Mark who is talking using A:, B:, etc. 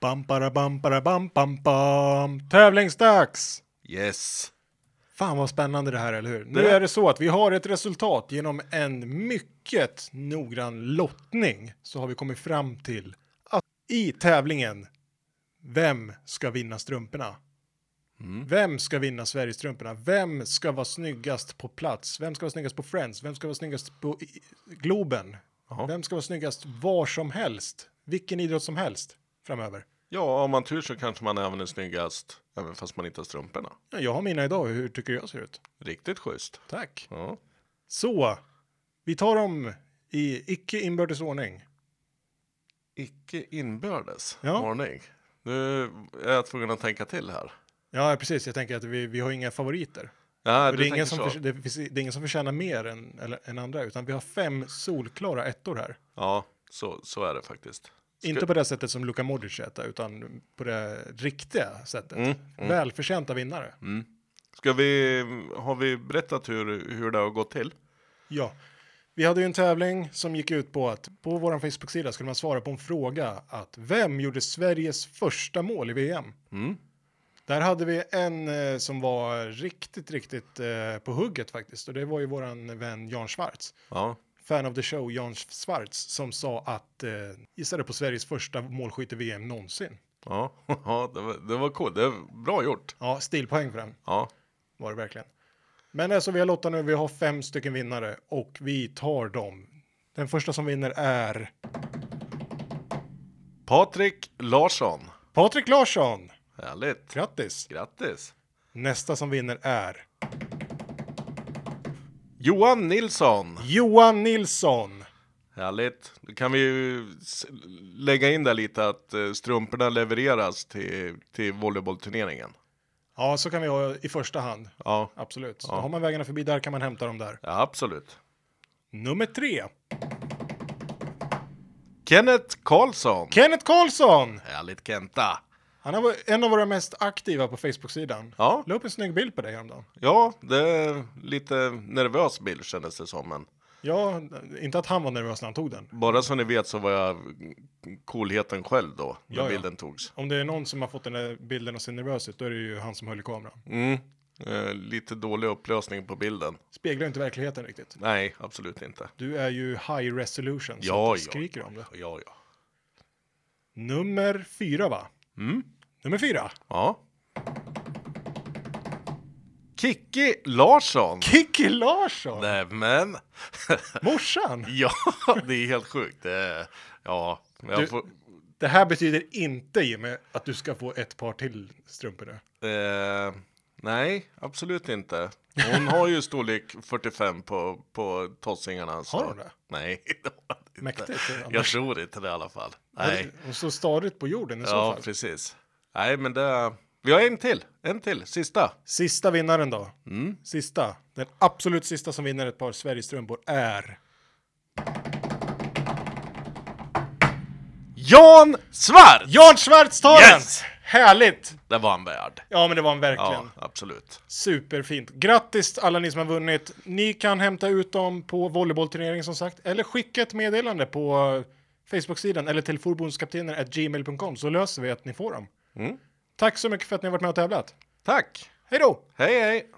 A: Bam, bara, bam, bara, bam, bam, bam. Tävlingsdags!
B: Yes.
A: Fan vad spännande det här, eller hur? Nu
B: Det-
A: är det så att vi har ett resultat genom en mycket noggrann lottning så har vi kommit fram till att i tävlingen Vem ska vinna strumporna? Vem ska vinna Sverigestrumporna? Vem ska vara snyggast på plats? Vem ska vara snyggast på Friends? Vem ska vara snyggast på i- Globen?
B: Jaha.
A: Vem ska vara snyggast var som helst? Vilken idrott som helst framöver?
B: Ja, om man tur så kanske man även är snyggast, även fast man inte har strumporna.
A: Ja, Jag har mina idag. Hur tycker du jag ser ut?
B: Riktigt schysst.
A: Tack.
B: Ja.
A: Så, vi tar dem i icke inbördes ordning.
B: Icke inbördes
A: Ja.
B: ordning. Nu är jag tvungen att tänka till här.
A: Ja, precis. Jag tänker att vi, vi har inga favoriter.
B: Ja,
A: Och
B: du
A: Det är, ingen
B: tänker
A: som
B: så.
A: förs- det, finns, det är ingen som förtjänar mer än, eller, än andra, utan vi har fem solklara ettor här.
B: Ja, så, så är det faktiskt. Ska-
A: Inte på det sättet som Luka Modric är etta, utan på det riktiga sättet.
B: Mm,
A: Välförtjänta vinnare.
B: Ska vi, har vi berättat hur, hur det har gått till?
A: Ja. Vi hade ju en tävling som gick ut på att på vår Facebook-sida skulle man svara på en fråga att vem gjorde Sveriges första mål i VM?
B: Mm.
A: Där hade vi en eh, som var riktigt, riktigt eh, på hugget faktiskt och det var ju våran vän Jan Schwartz.
B: Ja,
A: Fan of the show Jan Schwartz som sa att eh, gissade på Sveriges första målskytt i VM någonsin.
B: ja, ja det, var, det var coolt. Det var bra gjort.
A: Ja, stilpoäng för den.
B: Ja,
A: var det verkligen. Men alltså vi har lottat nu, vi har fem stycken vinnare och vi tar dem. Den första som vinner är
B: Patrik Larsson.
A: Patrik Larsson.
B: Härligt.
A: Grattis!
B: Grattis.
A: Nästa som vinner är
B: Johan Nilsson.
A: Johan Nilsson.
B: Härligt. Då kan vi ju s- lägga in där lite att eh, strumporna levereras till, till volleybollturneringen.
A: Ja, så kan vi ha i första hand.
B: Ja,
A: Absolut. Då har man vägarna förbi där kan man hämta dem där.
B: ja, absolut.
A: Nummer tre.
B: Kenneth Karlsson.
A: Kenneth Karlsson.
B: Härligt Kenta.
A: Han är en av våra mest aktiva på Facebook-sidan.
B: Ja,
A: La upp en snygg bild på dig häromdagen.
B: ja, det är lite nervös bild kändes det som. Men
A: Ja, inte att han var nervös när han tog den.
B: bara så ni vet så var jag coolheten själv då när
A: Ja, ja.
B: bilden togs.
A: Om det är någon som har fått den där bilden och ser nervös ut, då är det ju han som höll i kameran.
B: Mm. Eh, lite dålig upplösning på bilden.
A: Speglar inte verkligheten riktigt.
B: Nej, absolut inte.
A: Du är ju high resolution, så
B: Ja,
A: att du
B: ja,
A: skriker om det.
B: Ja, ja.
A: Nummer fyra, va?
B: Mm.
A: Nummer fyra.
B: Ja. Kikki Larsson.
A: Kikki Larsson!
B: Nämen.
A: Morsan!
B: ja, det är helt sjukt. Det är, ja, jag
A: Du-
B: får,
A: Det här betyder inte, Jimmy, att du ska få ett par till strumpor nu.
B: eh, nej, absolut inte. Hon har ju storlek 45 på, på tossingarna. Så.
A: Har hon det?
B: Nej, det har hon inte.
A: Mäktigt.
B: Jag tror inte det i alla fall. Nej,
A: Hon står stadigt på jorden i så
B: ja,
A: fall.
B: precis. Nej, men det... Vi har en till, en till, sista.
A: Sista vinnaren då.
B: Mm.
A: Sista. Den absolut sista som vinner ett par Sverigestrumpor är...
B: Jan Svart!
A: Jan Schwartz tar
B: Yes!
A: den! Härligt!
B: Det var han värd.
A: Ja, men det var en verkligen.
B: Ja, absolut.
A: Superfint. Grattis alla ni som har vunnit. Ni kan hämta ut dem på volleybollturneringen som sagt, eller skicka ett meddelande på eh, Facebook-sidan eller till forbundskaptenen@gmail.com så löser vi att ni får dem. Tack så mycket för att ni har varit med och tävlat.
B: Tack!
A: Hej då!
B: Hej, hej!